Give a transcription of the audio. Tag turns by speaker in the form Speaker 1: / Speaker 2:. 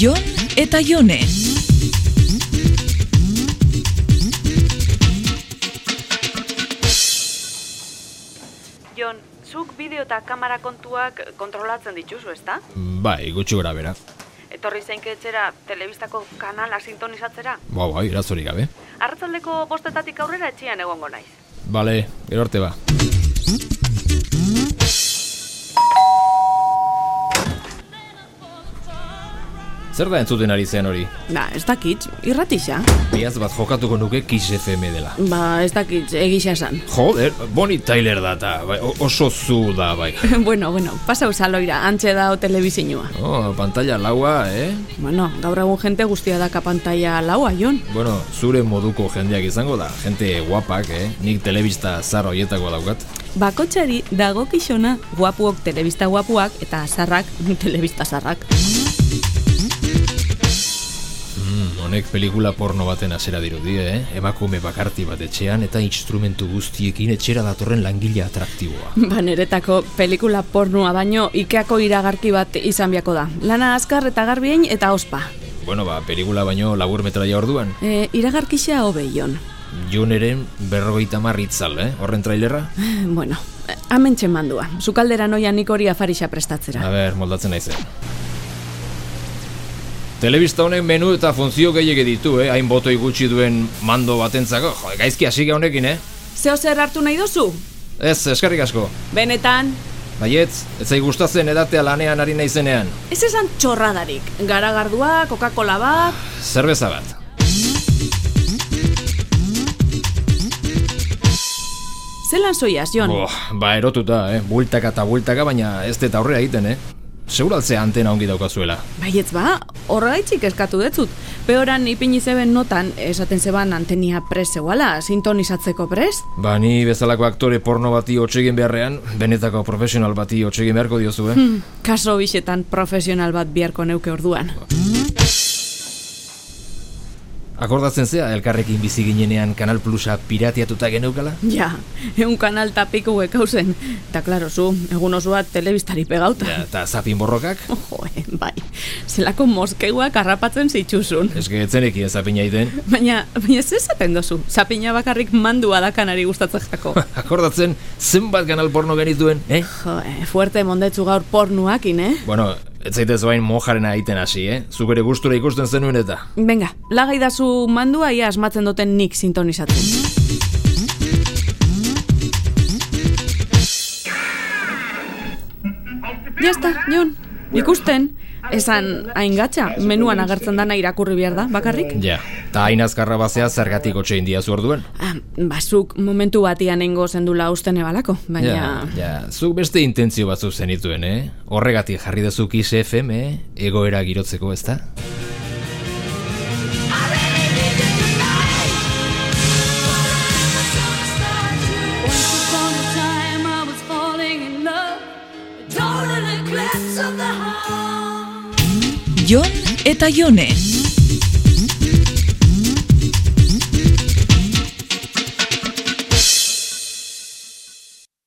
Speaker 1: Jon eta Jone.
Speaker 2: Jon, zuk bideo eta kamera kontuak kontrolatzen dituzu, ezta?
Speaker 3: Bai, gutxi gora bera.
Speaker 2: Etorri zeinke etxera telebistako kanala sintonizatzera.
Speaker 3: Ba, bai, irazorik gabe.
Speaker 2: Arratzaldeko bostetatik aurrera etxean egongo naiz.
Speaker 3: Bale, gero arte ba. Zer da entzuten ari zen hori?
Speaker 4: Ba, ez dakit, irratixa.
Speaker 3: Iaz bat jokatuko nuke Kiss FM dela.
Speaker 4: Ba, ez dakit, egisa esan.
Speaker 3: Joder, Bonnie Tyler da eta bai, o- oso zu da bai.
Speaker 4: bueno, bueno, pasau saloira, antxe dao telebizinua.
Speaker 3: Oh, pantalla laua, eh?
Speaker 4: Bueno, gaur egun jente guztia daka pantalla laua, Jon.
Speaker 3: Bueno, zure moduko jendeak izango da, jente guapak, eh? Nik telebista zar horietako daukat.
Speaker 4: Bakotxari dago kixona Ba, guapuok telebista guapuak eta azarrak telebista zarrak.
Speaker 3: Mm, honek pelikula porno baten hasiera dirudi, eh? Emakume bakarti bat etxean eta instrumentu guztiekin etxera datorren langile atraktiboa.
Speaker 4: Ba, niretako pelikula pornua baino ikeako iragarki bat izan biako da. Lana azkar eta garbien eta ospa.
Speaker 3: Bueno, ba, pelikula baino labur metraia orduan.
Speaker 4: E, iragarkixa hobe, Jon.
Speaker 3: Juneren berrogeita marritzal, eh? Horren trailerra?
Speaker 4: Bueno, hemen mandua. Zukaldera noia nik hori afarixa
Speaker 3: A
Speaker 4: prestatzera.
Speaker 3: ber, moldatzen naizen. Telebista honek menu eta funtzio gehiegi ditu, eh? Hain botoi gutxi duen mando batentzako. Jo, gaizki hasi ga honekin, eh?
Speaker 4: Zeo zer hartu nahi duzu?
Speaker 3: Ez, eskarrik asko.
Speaker 4: Benetan,
Speaker 3: Baietz, ez zai gustatzen edatea lanean ari naizenean.
Speaker 4: Ez esan txorradarik. Garagardua, Coca-Cola bat...
Speaker 3: Zerbeza bat.
Speaker 4: Zelan zoiaz, Jon?
Speaker 3: Boh, ba erotuta, eh? Bultaka eta bultaka, baina ez dut aurrera egiten, eh? Seguraltzea antena ongi daukazuela.
Speaker 4: Baietz ba, horregaitzik eskatu detzut. Peoran ipini zeben notan, esaten zeban antenia preseuala, sintonizatzeko prest.
Speaker 3: Ba, ni bezalako aktore porno bati hotsegin beharrean, benetako profesional bati hotsegin beharko diozu, eh?
Speaker 4: Hm, Kaso bisetan profesional bat biharko neuke orduan.
Speaker 3: Akordatzen zea, elkarrekin bizi ginenean Kanal Plusa piratiatuta geneukala?
Speaker 4: Ja, eun kanal tapiku hauzen. Eta klaro zu, egun osoa telebistari pegauta.
Speaker 3: Ja, eta zapin borrokak?
Speaker 4: Joe, bai, zelako moskeuak harrapatzen zituzun.
Speaker 3: Eske etzenekien zapina egiten.
Speaker 4: Baina, baina ez esaten dozu, zapina bakarrik mandua da kanari gustatzen jako.
Speaker 3: Akordatzen, zenbat kanal porno genituen, eh?
Speaker 4: Jo, eh, fuerte mondetzu gaur pornuakin, eh?
Speaker 3: Bueno, ez zaitez bain mojarena egiten hasi, eh? Zuk ere gustura ikusten zenuen eta.
Speaker 4: Benga, lagai dazu mandua ia asmatzen duten nik sintonizatzen. Jasta, Jon, ikusten. Esan, hain gatza, menuan agertzen dana irakurri behar da, bakarrik?
Speaker 3: Ja, eta hain azkarra bazea zergatik hotxe indiazu orduan.
Speaker 4: Ah, bazuk momentu batian nengo zendula usten ebalako, baina...
Speaker 3: Ja, ja, zuk beste intentzio batzu zenituen, eh? Horregatik jarri duzu Kiss FM, eh? Egoera girotzeko, ez da?
Speaker 5: Once upon a time I was falling in love, a total eclipse of the heart.
Speaker 1: Jon eta Jone.